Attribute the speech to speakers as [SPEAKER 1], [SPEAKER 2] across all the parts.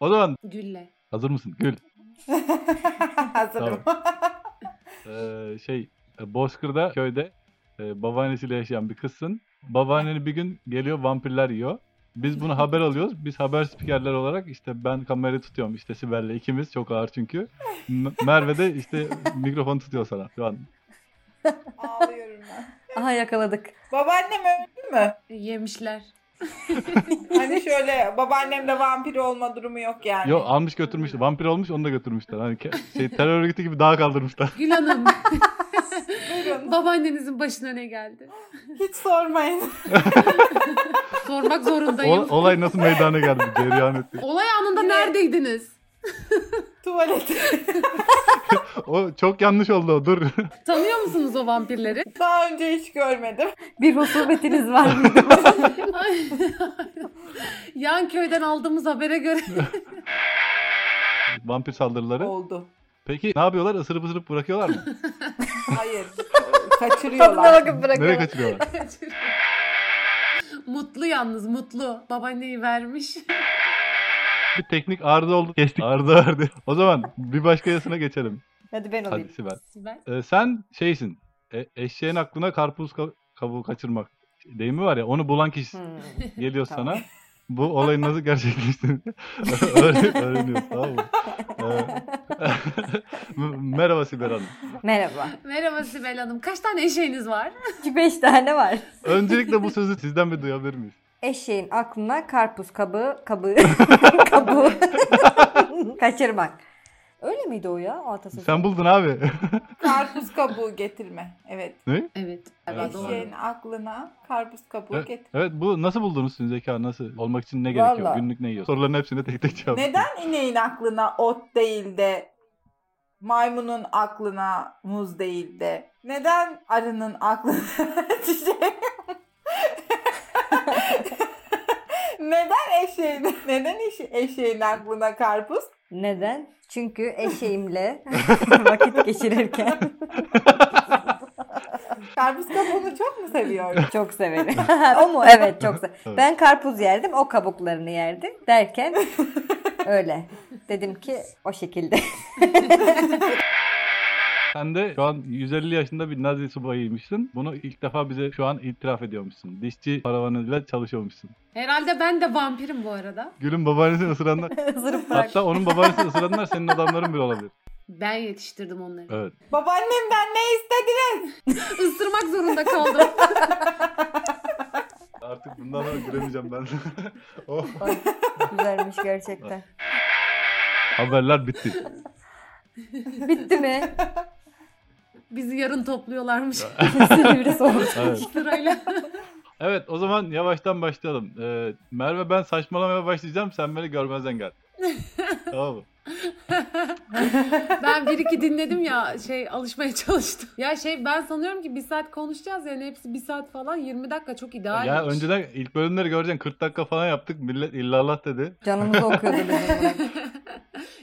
[SPEAKER 1] O zaman
[SPEAKER 2] Gülle.
[SPEAKER 1] hazır mısın? Gül.
[SPEAKER 3] Hazırım.
[SPEAKER 1] Ee, şey e, Bozkır'da köyde e, babaannesiyle yaşayan bir kızsın. Babaanneni bir gün geliyor vampirler yiyor. Biz bunu haber alıyoruz. Biz haber spikerler olarak işte ben kamerayı tutuyorum. işte Sibel'le ikimiz çok ağır çünkü. M- Merve de işte mikrofonu tutuyor sana şu an.
[SPEAKER 3] Ağlıyorum ben.
[SPEAKER 4] Aha yakaladık.
[SPEAKER 3] Babaannem öldü mü?
[SPEAKER 2] Yemişler.
[SPEAKER 3] Hani şöyle babaannemde vampir olma durumu yok yani.
[SPEAKER 1] Yo almış götürmüş. Vampir olmuş onu da götürmüşler. Hani ke- şey, terör örgütü gibi dağa kaldırmışlar.
[SPEAKER 2] Gül Hanım.
[SPEAKER 3] Buyurun.
[SPEAKER 2] Babaannenizin başına ne geldi?
[SPEAKER 3] Hiç sormayın.
[SPEAKER 2] Sormak zorundayım.
[SPEAKER 1] Ol- olay nasıl meydana geldi? Cereyan etti.
[SPEAKER 2] Olay anında
[SPEAKER 3] Yine-
[SPEAKER 2] neredeydiniz?
[SPEAKER 3] Tuvalete.
[SPEAKER 1] O çok yanlış oldu o. Dur.
[SPEAKER 2] Tanıyor musunuz o vampirleri?
[SPEAKER 3] Daha önce hiç görmedim.
[SPEAKER 4] Bir rusubetiniz var mıydı?
[SPEAKER 2] Ay. Yan köyden aldığımız habere göre
[SPEAKER 1] Vampir saldırıları.
[SPEAKER 3] Oldu.
[SPEAKER 1] Peki ne yapıyorlar? Isırıp ısırıp bırakıyorlar mı?
[SPEAKER 3] Hayır.
[SPEAKER 4] Tadına
[SPEAKER 3] Kaçırıyorlar.
[SPEAKER 4] bakıp
[SPEAKER 1] Nereye
[SPEAKER 4] bırakın.
[SPEAKER 1] kaçırıyorlar?
[SPEAKER 2] mutlu yalnız mutlu. Babaanneyi vermiş.
[SPEAKER 1] Bir teknik arıza oldu. Kestik. Arıza verdi. O zaman bir başka yasına geçelim.
[SPEAKER 4] Hadi ben
[SPEAKER 1] Hadi
[SPEAKER 4] olayım.
[SPEAKER 1] Sibel.
[SPEAKER 2] Sibel.
[SPEAKER 1] Ee, sen şeysin. E- eşeğin aklına karpuz ka- kabuğu kaçırmak. Deyimi var ya onu bulan kişi
[SPEAKER 4] Hmm.
[SPEAKER 1] geliyor
[SPEAKER 4] Tamam.
[SPEAKER 1] sana. Bu olayın nasıl gerçekleştiğini öğren- öğreniyorsun tamam mı? Ee, Merhaba Sibel Hanım.
[SPEAKER 4] Merhaba.
[SPEAKER 2] Merhaba Sibel Hanım. Kaç tane eşeğiniz var?
[SPEAKER 4] 5 tane var.
[SPEAKER 1] Öncelikle bu sözü sizden bir duyabilir miyiz?
[SPEAKER 4] Eşeğin aklına karpuz kabuğu, kabuğu, kabuğu kaçırmak. Öyle miydi o ya? O atasözü.
[SPEAKER 1] Sen buldun abi.
[SPEAKER 3] Karpuz kabuğu getirme. Evet.
[SPEAKER 2] Evet.
[SPEAKER 1] Evet, doğru.
[SPEAKER 3] Eşeğin aklına karpuz kabuğu
[SPEAKER 1] Evet,
[SPEAKER 3] getir.
[SPEAKER 1] evet bu nasıl buldunuz sizin zeka nasıl? Olmak için ne gerekiyor?
[SPEAKER 4] Vallahi.
[SPEAKER 1] Günlük ne yiyorsun? Soruların hepsine tek tek cevap.
[SPEAKER 3] Neden ineğin aklına ot değil de maymunun aklına muz değil de neden arının aklına çiçek neden eşeğin neden eşe- eşeğin aklına karpuz
[SPEAKER 4] Neden? Çünkü eşeğimle vakit geçirirken
[SPEAKER 3] karpuz kabuğunu çok mu seviyor
[SPEAKER 4] çok severim. o mu? Evet çok severim.
[SPEAKER 1] Evet.
[SPEAKER 4] Ben karpuz yerdim, o kabuklarını yerdi derken öyle. Dedim ki o şekilde.
[SPEAKER 1] Sen de şu an 150 yaşında bir Nazi subayıymışsın. Bunu ilk defa bize şu an itiraf ediyormuşsun. Dişçi paravanıyla çalışıyormuşsun.
[SPEAKER 2] Herhalde ben de vampirim bu arada.
[SPEAKER 1] Gül'ün babaannesini ısıranlar.
[SPEAKER 4] Zırıp bırak.
[SPEAKER 1] hatta onun babaannesini ısıranlar senin adamların bile olabilir.
[SPEAKER 2] Ben yetiştirdim onları.
[SPEAKER 1] Evet.
[SPEAKER 3] babaannemden ne istedin
[SPEAKER 2] Isırmak zorunda kaldım.
[SPEAKER 1] Artık bundan sonra gülemeyeceğim ben. oh.
[SPEAKER 4] Ay, güzelmiş gerçekten.
[SPEAKER 1] Haberler bitti.
[SPEAKER 4] Bitti mi?
[SPEAKER 2] Bizi yarın topluyorlarmış
[SPEAKER 4] Silivri soğuk.
[SPEAKER 1] Evet.
[SPEAKER 2] sırayla.
[SPEAKER 1] evet o zaman yavaştan başlayalım. Ee, Merve ben saçmalamaya başlayacağım. Sen beni görmezden gel. tamam mı?
[SPEAKER 2] Ben bir iki dinledim ya şey alışmaya çalıştım. Ya şey ben sanıyorum ki bir saat konuşacağız yani hepsi bir saat falan 20 dakika çok ideal.
[SPEAKER 1] Ya önceden ilk bölümleri göreceksin 40 dakika falan yaptık. Millet illallah dedi.
[SPEAKER 4] Canımızı okuyordu bizim bırak.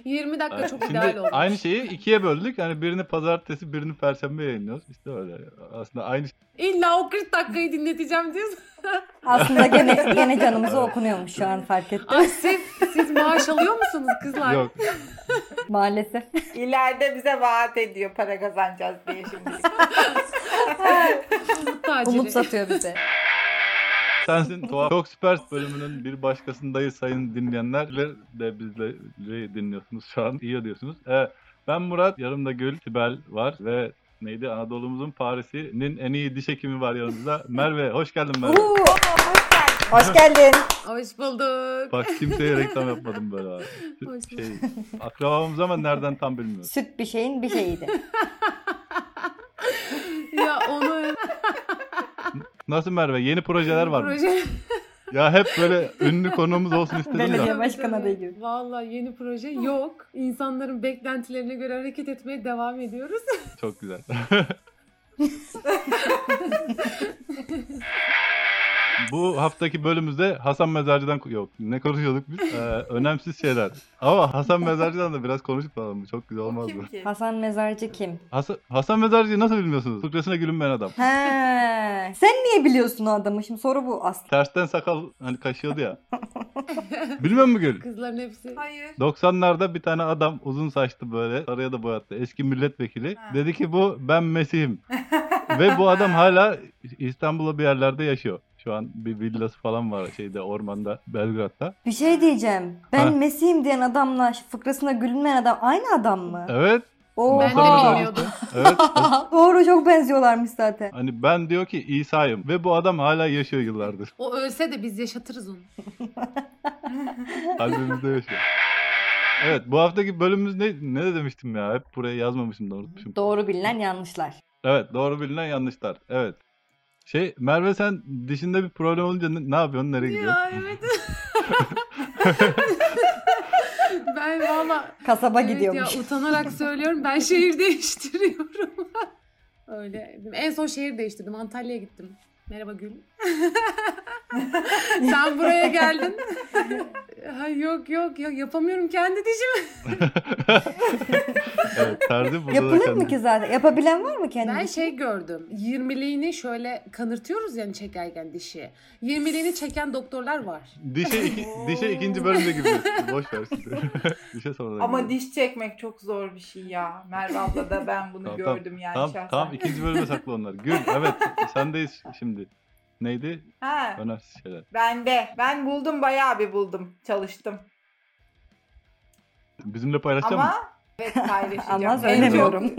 [SPEAKER 2] 20 dakika
[SPEAKER 1] Evet,
[SPEAKER 2] çok
[SPEAKER 1] Şimdi
[SPEAKER 2] ideal oldu.
[SPEAKER 1] aynı şeyi ikiye böldük. Yani birini pazartesi, birini perşembe yayınlıyoruz. İşte öyle. Aslında aynı şey.
[SPEAKER 2] İlla o 40 dakikayı dinleteceğim diyorsun.
[SPEAKER 4] Aslında gene gene canımızı okunuyormuş şu an fark ettim.
[SPEAKER 2] Ay siz, siz maaş alıyor musunuz kızlar?
[SPEAKER 1] Yok.
[SPEAKER 4] Maalesef.
[SPEAKER 3] ileride bize vaat ediyor para kazanacağız diye şimdi
[SPEAKER 2] Umut taciri.
[SPEAKER 4] Umut satıyor bize.
[SPEAKER 1] Sensin tuhaf. Çok süper bölümünün bir başkasındayız sayın dinleyenler. de bizleri dinliyorsunuz şu an. İyi diyorsunuz. Evet. Ben Murat. Yanımda Gül, Sibel var ve neydi Anadolu'muzun Paris'inin en iyi diş hekimi var yanımızda. Merve hoş geldin Merve.
[SPEAKER 4] Uhu! Hoş geldin.
[SPEAKER 2] Hoş bulduk.
[SPEAKER 1] Bak kimseye reklam yapmadım böyle abi.
[SPEAKER 2] Hoş
[SPEAKER 1] Şey, akrabamız ama nereden tam bilmiyorum.
[SPEAKER 4] Süt bir şeyin bir şeyiydi.
[SPEAKER 1] şey-
[SPEAKER 2] ya onu
[SPEAKER 1] Nasıl Merve? Yeni projeler var mı?
[SPEAKER 2] proje.
[SPEAKER 1] Ya hep böyle ünlü konuğumuz olsun istedim
[SPEAKER 4] Belediye
[SPEAKER 1] ya.
[SPEAKER 4] Tabii, başkanı
[SPEAKER 2] tabii.
[SPEAKER 4] adayı gibi.
[SPEAKER 2] Vallahi yeni proje yok. İnsanların beklentilerine göre hareket etmeye devam ediyoruz.
[SPEAKER 1] Çok güzel. Bu haftaki bölümümüzde Hasan Mezarcı'dan yok ne konuşuyorduk biz? Ee, önemsiz şeyler. Ama Hasan Mezarcı'dan da biraz konuştuk falan. Bu çok güzel
[SPEAKER 3] O
[SPEAKER 1] olmaz mı?
[SPEAKER 3] kim ki?
[SPEAKER 4] Hasan Mezarcı kim?
[SPEAKER 1] Hasan, Hasan Mezarcı'yı nasıl bilmiyorsunuz? Fıkrasına gülünmeyen adam.
[SPEAKER 4] He. Sen niye biliyorsun o adamı? Şimdi soru bu aslında.
[SPEAKER 1] Tersten sakal hani kaşıyordu ya. Bilmiyor musun Gül?
[SPEAKER 2] Kızların hepsi.
[SPEAKER 3] Hayır.
[SPEAKER 1] 90'larda bir tane adam uzun saçlı böyle sarıya da boyattı eski milletvekili.
[SPEAKER 3] Ha.
[SPEAKER 1] Dedi ki bu ben Mesih'im. Ve bu adam hala İstanbul'da bir yerlerde yaşıyor. Şu an bir villası falan var şeyde ormanda Belgrad'da.
[SPEAKER 4] Bir şey diyeceğim. Ben
[SPEAKER 1] Ha.
[SPEAKER 4] Mesih'im diyen adamla şu fıkrasına gülmeyen adam aynı adam mı?
[SPEAKER 1] Evet.
[SPEAKER 4] Oo.
[SPEAKER 2] Ben de
[SPEAKER 1] Muhtemelen öyle.
[SPEAKER 2] bilmiyordum.
[SPEAKER 1] Evet.
[SPEAKER 4] Doğru çok benziyorlarmış zaten.
[SPEAKER 1] hani ben diyor ki İsa'yım ve bu adam hala yaşıyor yıllardır.
[SPEAKER 2] O ölse de biz yaşatırız onu.
[SPEAKER 1] Kalbimizde yaşıyor. Evet bu haftaki bölümümüz ne, ne demiştim ya? Hep buraya yazmamışım da unutmuşum.
[SPEAKER 4] Doğru bilinen yanlışlar.
[SPEAKER 1] Evet doğru bilinen yanlışlar. Evet. Şey Merve sen dişinde bir problem olunca ne, ne yapıyorsun? Nereye gidiyorsun?
[SPEAKER 2] ya evet. ben valla
[SPEAKER 4] Kasaba
[SPEAKER 2] evet ya
[SPEAKER 4] gidiyormuş.
[SPEAKER 2] utanarak söylüyorum. Ben şehir değiştiriyorum. Öyle. En son şehir değiştirdim. Antalya'ya gittim. Merhaba Gül. Sen buraya geldin. Ha, yok yok yok yapamıyorum kendi dişimi.
[SPEAKER 1] evet, terzi burada da
[SPEAKER 4] Yapılır
[SPEAKER 1] kendi-
[SPEAKER 4] mı ki zaten? Yapabilen var mı
[SPEAKER 2] Ben
[SPEAKER 4] kendini?
[SPEAKER 2] şey gördüm. 20'liğini şöyle kanırtıyoruz yani çekerken dişi. 20'liğini çeken doktorlar var.
[SPEAKER 1] Dişe, iki, dişe ikinci bölümde gibi. Boş ver şimdi. dişe sonra.
[SPEAKER 3] Ama
[SPEAKER 1] gidelim.
[SPEAKER 3] diş çekmek çok zor bir şey ya. Merve abla da ben bunu
[SPEAKER 1] Tamam, tamam.
[SPEAKER 3] gördüm yani
[SPEAKER 1] Tamam,
[SPEAKER 3] şahsen.
[SPEAKER 1] tamam ikinci bölüme sakla onlar. Gül evet sendeyiz şimdi. Neydi?
[SPEAKER 3] Ha,
[SPEAKER 1] Önemsiz şeyler.
[SPEAKER 3] ben de. Ben buldum bayağı bir buldum. Çalıştım.
[SPEAKER 1] Bizimle paylaşacak mısın?
[SPEAKER 3] Ama evet paylaşacağım. En
[SPEAKER 4] Ama
[SPEAKER 3] çok-
[SPEAKER 4] söylemiyorum.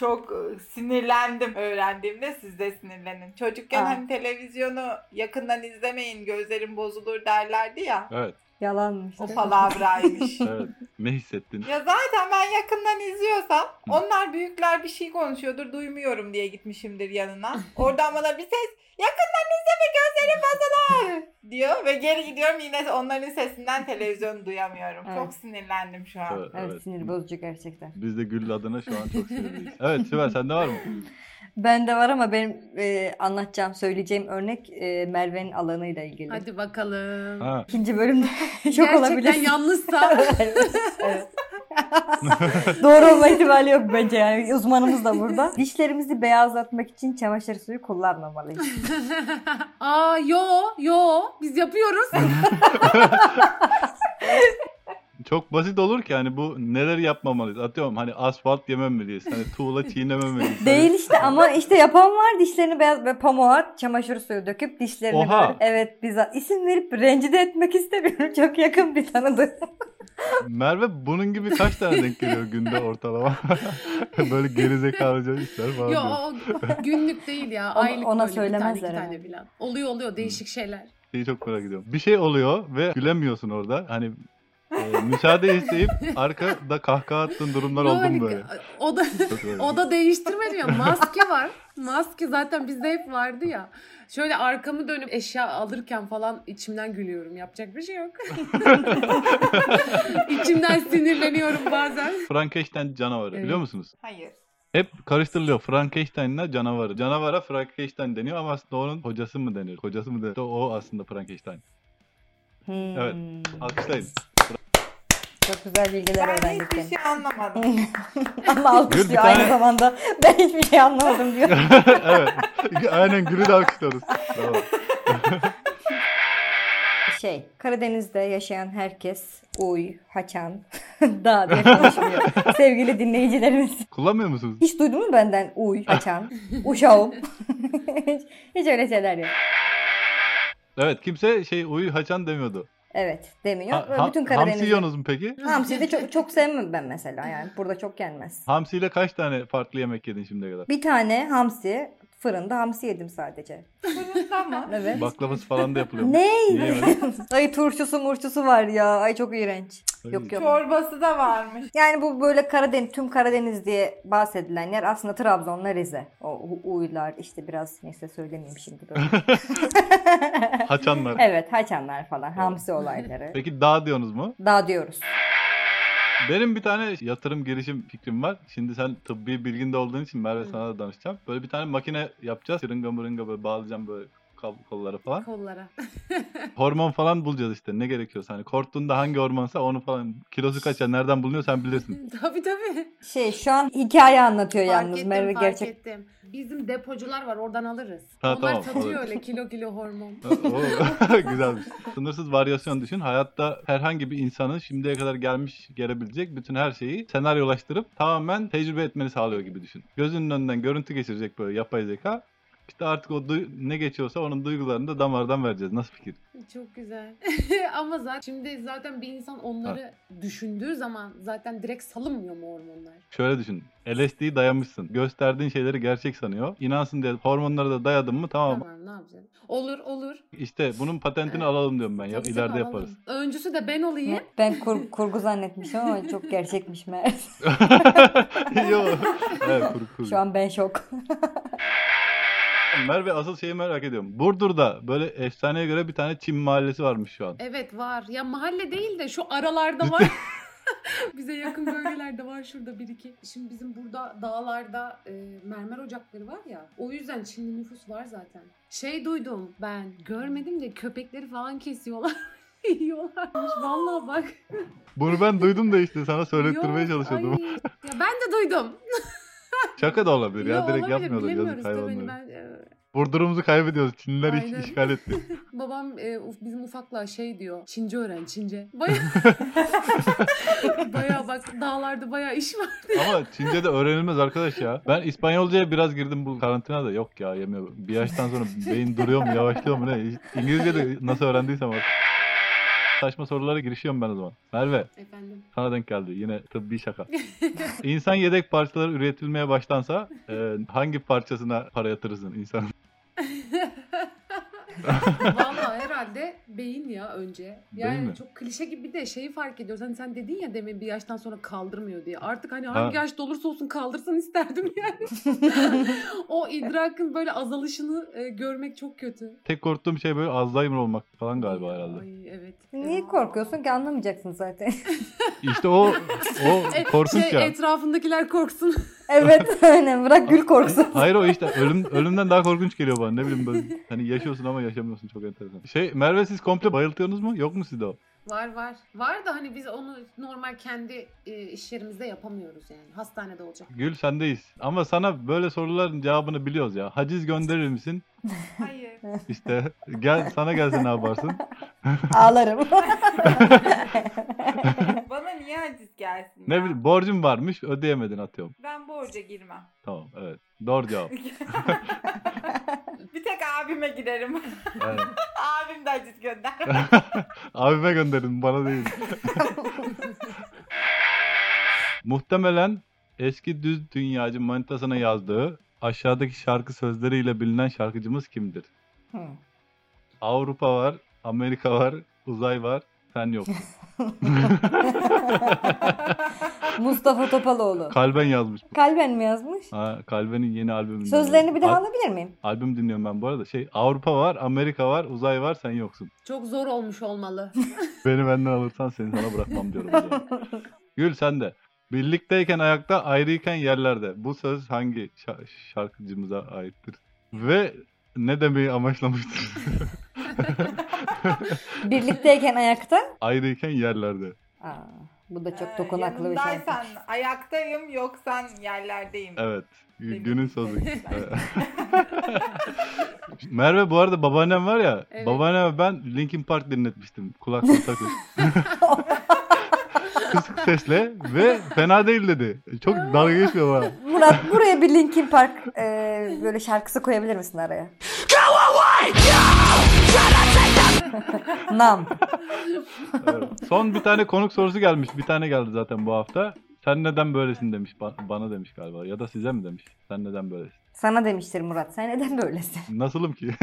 [SPEAKER 3] Çok e, sinirlendim öğrendiğimde siz de sinirlenin. Çocukken
[SPEAKER 4] Aa.
[SPEAKER 3] hani televizyonu yakından izlemeyin gözlerim bozulur derlerdi ya.
[SPEAKER 1] Evet,
[SPEAKER 4] Yalanmış.
[SPEAKER 3] O
[SPEAKER 4] değil mi?
[SPEAKER 3] palavraymış.
[SPEAKER 1] evet. Ne hissettin?
[SPEAKER 3] ya zaten ben yakından izliyorsam onlar büyükler bir şey konuşuyordur duymuyorum diye gitmişimdir yanına. Oradan bana bir ses yakından izleme gözlerim bozulur diyor ve geri gidiyorum yine onların sesinden televizyonu duyamıyorum.
[SPEAKER 4] Evet.
[SPEAKER 3] Çok sinirlendim şu an.
[SPEAKER 1] Evet,
[SPEAKER 4] Evet,
[SPEAKER 1] evet.
[SPEAKER 4] sinir bozucu gerçekten.
[SPEAKER 1] Biz de Gül adına şu an çok sinirliyiz. Evet Sibel sende var mı?
[SPEAKER 4] Bende var ama benim e, anlatacağım, söyleyeceğim örnek e, Merve'nin alanıyla ilgili.
[SPEAKER 2] Hadi bakalım.
[SPEAKER 1] Ha.
[SPEAKER 4] İkinci bölümde şok
[SPEAKER 2] Gerçekten
[SPEAKER 4] olabilir.
[SPEAKER 2] yalnızsa
[SPEAKER 4] Evet. Doğru olma ihtimali yok bence yani uzmanımız da burada. Dişlerimizi beyazlatmak için çamaşır suyu kullanmamalıyız.
[SPEAKER 2] Aa yo yo biz yapıyoruz.
[SPEAKER 1] Çok basit olur ki hani bu neler yapmamalıyız. Atıyorum hani asfalt yememeliyiz. Hani tuğla çiğnememeliyiz. Hani
[SPEAKER 4] Değil işte ama işte yapan var dişlerini beyaz ve pamuğa çamaşır suyu döküp dişlerini
[SPEAKER 1] Oha.
[SPEAKER 4] böyle- evet bizzat isim verip rencide etmek istemiyorum. Çok yakın bir tanıdık.
[SPEAKER 1] Hani Merve bunun gibi kaç tane denk geliyor günde ortalama? Böyle gerizekalıca işler falan.
[SPEAKER 2] yo
[SPEAKER 1] diyor.
[SPEAKER 2] o günlük değil ya
[SPEAKER 4] Ona-
[SPEAKER 2] aylık
[SPEAKER 4] ona
[SPEAKER 2] böyle bir tane iki
[SPEAKER 4] söylemezler
[SPEAKER 2] tane
[SPEAKER 4] herhalde.
[SPEAKER 2] falan. Oluyor oluyor değişik şeyler.
[SPEAKER 1] Şeyi çok merak ediyorum. Bir şey oluyor ve gülemiyorsun orada. Hani e, müsaade isteyip arkada kahkaha attığın durumlar oldu mu
[SPEAKER 2] Böyle-
[SPEAKER 1] böyle?
[SPEAKER 2] O da
[SPEAKER 1] Çok öyle.
[SPEAKER 2] O da değiştirmedi ya. Maske var. Maske zaten bizde hep vardı ya. Şöyle arkamı dönüp eşya alırken falan içimden gülüyorum. Yapacak bir şey yok. içimden sinirleniyorum bazen.
[SPEAKER 1] Frankenstein canavarı
[SPEAKER 2] Evet.
[SPEAKER 1] biliyor musunuz?
[SPEAKER 3] Hayır.
[SPEAKER 1] Hep karıştırılıyor Frankenstein'la canavarı. Canavara Frankenstein deniyor ama aslında onun hocası mı deniyor? Kocası mı deniyor? O aslında Frankenstein.
[SPEAKER 4] Hmm.
[SPEAKER 1] Evet. Alkışlayın.
[SPEAKER 4] Çok güzel bilgiler
[SPEAKER 3] Ben
[SPEAKER 4] öğrendik.
[SPEAKER 3] hiçbir
[SPEAKER 4] yani.
[SPEAKER 3] şey anlamadım.
[SPEAKER 4] Ama
[SPEAKER 1] Gül bir
[SPEAKER 4] alkışlıyor
[SPEAKER 1] tane-
[SPEAKER 4] aynı zamanda. Ben hiçbir şey anlamadım diyor.
[SPEAKER 1] evet. Aynen gülü de alkışlıyoruz. Bravo.
[SPEAKER 4] Şey, Karadeniz'de yaşayan herkes uy, haçan, da diye konuşmuyor. Sevgili dinleyicilerimiz.
[SPEAKER 1] Kullanmıyor musunuz?
[SPEAKER 4] Hiç duydun mu benden uy, haçan, uşağım? hiç, hiç öyle şeyler yok.
[SPEAKER 1] Evet kimse şey uyu haçan demiyordu.
[SPEAKER 4] Evet, demiyor.
[SPEAKER 1] Ha,
[SPEAKER 4] Ve
[SPEAKER 1] ha-
[SPEAKER 4] bütün
[SPEAKER 1] hamsi
[SPEAKER 4] Karadeniz'de.
[SPEAKER 1] yiyorsunuz mu peki?
[SPEAKER 4] Hamsi de çok, çok sevmem ben mesela yani. Burada çok yenmez.
[SPEAKER 1] Hamsiyle kaç tane farklı yemek yedin şimdiye kadar?
[SPEAKER 4] Bir tane hamsi, fırında hamsi yedim sadece.
[SPEAKER 3] Fırında mı?
[SPEAKER 4] Evet.
[SPEAKER 1] Baklavası falan da yapılıyor.
[SPEAKER 4] Ne?
[SPEAKER 1] Yiyemedin.
[SPEAKER 4] Ay turşusu murşusu var ya. Ay çok iğrenç. Yok yok.
[SPEAKER 3] Çorbası da varmış.
[SPEAKER 4] Yani bu böyle Karadeniz, tüm Karadeniz diye bahsedilen yer aslında Trabzon'la Rize. O u- uylar işte biraz neyse söylemeyeyim şimdi böyle.
[SPEAKER 1] Haçanlar.
[SPEAKER 4] evet haçanlar falan, hamsi olayları.
[SPEAKER 1] Peki dağ diyorsunuz mu?
[SPEAKER 4] Dağ diyoruz.
[SPEAKER 1] Benim bir tane yatırım girişim fikrim var. Şimdi sen tıbbi bilginde olduğun için Merve
[SPEAKER 2] Hı.
[SPEAKER 1] sana da danışacağım. Böyle bir tane makine yapacağız. Şırınga mırınga böyle bağlayacağım böyle kol- kollara falan.
[SPEAKER 2] Kollara.
[SPEAKER 1] Hormon falan bulacağız işte ne gerekiyorsa. Hani korktuğunda hangi hormonsa onu falan kilosu kaça nereden bulunuyor sen bilirsin.
[SPEAKER 2] tabii tabii.
[SPEAKER 4] Şey şu an hikaye anlatıyor
[SPEAKER 2] Fark
[SPEAKER 4] yalnız
[SPEAKER 2] ettim,
[SPEAKER 4] Merve
[SPEAKER 2] fark
[SPEAKER 4] gerçek.
[SPEAKER 2] ettim. Bizim depocular var oradan alırız.
[SPEAKER 1] Ha,
[SPEAKER 2] Onlar
[SPEAKER 1] tamam,
[SPEAKER 2] satıyor
[SPEAKER 1] olur.
[SPEAKER 2] öyle kilo kilo hormon.
[SPEAKER 1] Oo, Güzelmiş. Sınırsız varyasyon düşün. Hayatta herhangi bir insanın şimdiye kadar gelmiş gelebilecek bütün her şeyi senaryolaştırıp tamamen tecrübe etmeni sağlıyor gibi düşün. Gözünün önünden görüntü geçirecek böyle yapay zeka. İşte artık o du- ne geçiyorsa onun duygularını da damardan vereceğiz. Nasıl fikir?
[SPEAKER 2] Çok güzel. Ama zaten şimdi zaten bir insan onları düşündüğü zaman zaten direkt salınmıyor mu hormonlar?
[SPEAKER 1] Şöyle düşün. LSD'yi dayamışsın. Gösterdiğin şeyleri gerçek sanıyor. İnansın diye hormonlara da dayadın mı tamam.
[SPEAKER 2] Tamam ne yapacağız? Olur olur.
[SPEAKER 1] İşte bunun patentini
[SPEAKER 2] Evet.
[SPEAKER 1] alalım diyorum ben. Ya,
[SPEAKER 2] Tabii
[SPEAKER 1] ileride
[SPEAKER 2] tabii,
[SPEAKER 1] yaparız.
[SPEAKER 2] alalım. Öncüsü de ben olayım.
[SPEAKER 4] Ben kur- kurgu zannetmişim ama çok gerçekmiş meğer.
[SPEAKER 1] Yok. Evet, kuru kuru.
[SPEAKER 4] Şu an ben şok.
[SPEAKER 1] Merve asıl şeyi merak ediyorum. Burdur'da böyle efsaneye göre bir tane Çin mahallesi varmış şu an.
[SPEAKER 2] Evet var. Ya mahalle değil de şu aralarda var. Bize yakın bölgelerde var şurada bir iki. Şimdi bizim burada dağlarda e, mermer ocakları var ya. O yüzden Çinli nüfus var zaten. Şey duydum ben görmedim de köpekleri falan kesiyorlar. Yiyorlarmış vallahi bak.
[SPEAKER 1] Bunu ben duydum da işte sana söylettirmeye
[SPEAKER 2] Yok,
[SPEAKER 1] çalışıyordum.
[SPEAKER 2] ay. Ya ben de duydum.
[SPEAKER 1] Şaka da olabilir ya
[SPEAKER 2] Yok,
[SPEAKER 1] direkt
[SPEAKER 2] olabilir,
[SPEAKER 1] yapmıyordur yazık
[SPEAKER 2] bilemiyoruz tabii.
[SPEAKER 1] hayvanları.
[SPEAKER 2] Ben, e,
[SPEAKER 1] Burdur'umuzu kaybediyoruz. Çinliler iş-
[SPEAKER 2] Aynen.
[SPEAKER 1] işgal etti.
[SPEAKER 2] Babam e, uf- bizim ufakla şey diyor. Çince öğren Çince. Baya baya bak dağlarda baya iş var.
[SPEAKER 1] Ama Çince de öğrenilmez arkadaş ya. Ben İspanyolcaya biraz girdim bu karantinada. Yok ya yemiyor. Bir yaştan sonra beyin duruyor mu yavaşlıyor mu ne? İngilizce de nasıl öğrendiysem artık. Saçma sorulara girişiyorum ben o zaman. Merve
[SPEAKER 2] Efendim.
[SPEAKER 1] Sana denk geldi. Yine tıbbi şaka. İnsan yedek parçaları üretilmeye başlansa e, hangi parçasına para yatırırsın insan?
[SPEAKER 2] Valla herhalde beyin ya önce. Yani
[SPEAKER 1] Beyin mi?
[SPEAKER 2] çok klişe gibi de şeyi fark ediyoruz. Hani sen dedin ya demin bir yaştan sonra kaldırmıyor diye. Artık hani hangi yaşta olursa olsun kaldırsın isterdim yani. o idrakın böyle azalışını e, görmek çok kötü.
[SPEAKER 1] Tek korktuğum şey böyle Alzheimer olmak falan galiba herhalde.
[SPEAKER 2] Ay evet.
[SPEAKER 4] Niye korkuyorsun ki anlamayacaksın zaten.
[SPEAKER 1] İşte o o
[SPEAKER 2] E,
[SPEAKER 1] korkunç
[SPEAKER 2] şey,
[SPEAKER 1] ya.
[SPEAKER 2] etrafındakiler korksun.
[SPEAKER 4] evet aynen bırak gül korksun.
[SPEAKER 1] Hayır o işte ölüm ölümden daha korkunç geliyor bana. Ne bileyim böyle hani yaşıyorsun ama yaşamıyorsun çok enteresan. Şey Merve siz komple bayıltıyorsunuz mu? Yok mu sizde o?
[SPEAKER 2] Var var. Var da hani biz onu normal kendi e, iş yerimizde yapamıyoruz yani. Hastanede olacak.
[SPEAKER 1] Gül sendeyiz. Ama sana böyle soruların cevabını biliyoruz ya. Haciz gönderir misin?
[SPEAKER 3] Hayır.
[SPEAKER 1] İşte gel sana gelse ne yaparsın?
[SPEAKER 4] Ağlarım.
[SPEAKER 3] Bana niye haciz gelsin?
[SPEAKER 1] Ne
[SPEAKER 3] ya?
[SPEAKER 1] bileyim borcum varmış ödeyemedin atıyorum.
[SPEAKER 3] Ben borca girmem.
[SPEAKER 1] Tamam evet. Doğru cevap.
[SPEAKER 3] Bir tek abime girerim.
[SPEAKER 1] Aynen.
[SPEAKER 3] Abim de haciz gönder.
[SPEAKER 1] Abime gönderin bana değil. Muhtemelen eski düz dünyacı manitasına yazdığı aşağıdaki şarkı sözleriyle bilinen şarkıcımız kimdir?
[SPEAKER 4] Hı.
[SPEAKER 1] Avrupa var, Amerika var, uzay var, sen yoksun.
[SPEAKER 4] Mustafa Topaloğlu.
[SPEAKER 1] Kalben yazmış. bu.
[SPEAKER 4] Kalben mi yazmış?
[SPEAKER 1] Ha, Kalben'in yeni albümünü.
[SPEAKER 4] Sözlerini bir daha
[SPEAKER 1] Al-
[SPEAKER 4] alabilir miyim?
[SPEAKER 1] Albüm dinliyorum ben bu arada. Şey Avrupa var, Amerika var, uzay var, sen yoksun.
[SPEAKER 2] Çok zor olmuş olmalı.
[SPEAKER 1] Beni benden alırsan seni sana bırakmam diyorum. o zaman. Gül sen de. Birlikteyken ayakta, ayrıyken yerlerde. Bu söz hangi şa- şarkıcımıza aittir? Ve ne demeyi amaçlamıştır?
[SPEAKER 4] Birlikteyken ayakta.
[SPEAKER 1] ayrıyken yerlerde.
[SPEAKER 4] Aa, bu da
[SPEAKER 3] Ee,
[SPEAKER 4] çok dokunaklı bir şey.
[SPEAKER 3] Yanındaysan ayaktayım yoksan yerlerdeyim.
[SPEAKER 1] Evet. Gü-
[SPEAKER 3] Demek
[SPEAKER 1] Günün
[SPEAKER 3] ki
[SPEAKER 1] sözü.
[SPEAKER 3] evet.
[SPEAKER 1] Evet. Merve bu arada babaannem var ya.
[SPEAKER 2] Evet.
[SPEAKER 1] Babaanneme ben Linkin Park dinletmiştim. Kulaklığı takıp. Kısık sesle ve fena değil dedi. Çok dalga geçmiyor bana.
[SPEAKER 4] Murat buraya bir Linkin Park e, böyle şarkısı koyabilir misin araya? Nam.
[SPEAKER 1] Evet. Son bir tane konuk sorusu gelmiş. Bir tane geldi zaten bu hafta. Sen neden böylesin demiş ba- bana demiş galiba ya da size mi demiş? Sen neden böylesin?
[SPEAKER 4] Sana demiştir Murat. Sen neden böylesin?
[SPEAKER 1] Nasılım ki?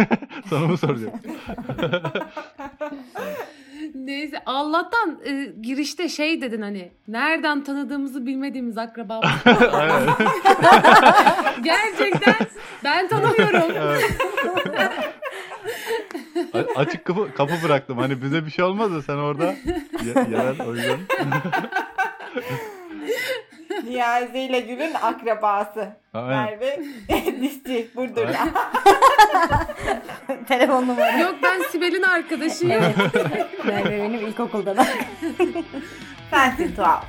[SPEAKER 1] Sana mı soracağım?
[SPEAKER 2] Neyse Allah'tan e, girişte şey dedin hani nereden tanıdığımızı bilmediğimiz akrabamız.
[SPEAKER 1] Aynen.
[SPEAKER 2] Gerçekten ben tanımıyorum.
[SPEAKER 1] Evet. A- açık kapı, kapı bıraktım. Hani bize bir şey olmaz da sen orada ye- yerel o yüzden.
[SPEAKER 3] Niyazi ile Gül'ün akrabası.
[SPEAKER 1] Aynen.
[SPEAKER 3] Merve dişçi Burdur'la.
[SPEAKER 4] Telefon numaram.
[SPEAKER 2] Yok ben Sibel'in arkadaşıyım.
[SPEAKER 4] Evet. Merve benim ilkokulda da.
[SPEAKER 3] Sensin tuhaf.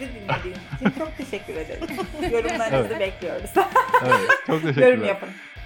[SPEAKER 3] Bizi dinlediğiniz için çok teşekkür ederim. Yorumlarınızı bekliyoruz.
[SPEAKER 1] Evet. Çok
[SPEAKER 3] Yorum
[SPEAKER 1] teşekkürler.
[SPEAKER 3] yapın.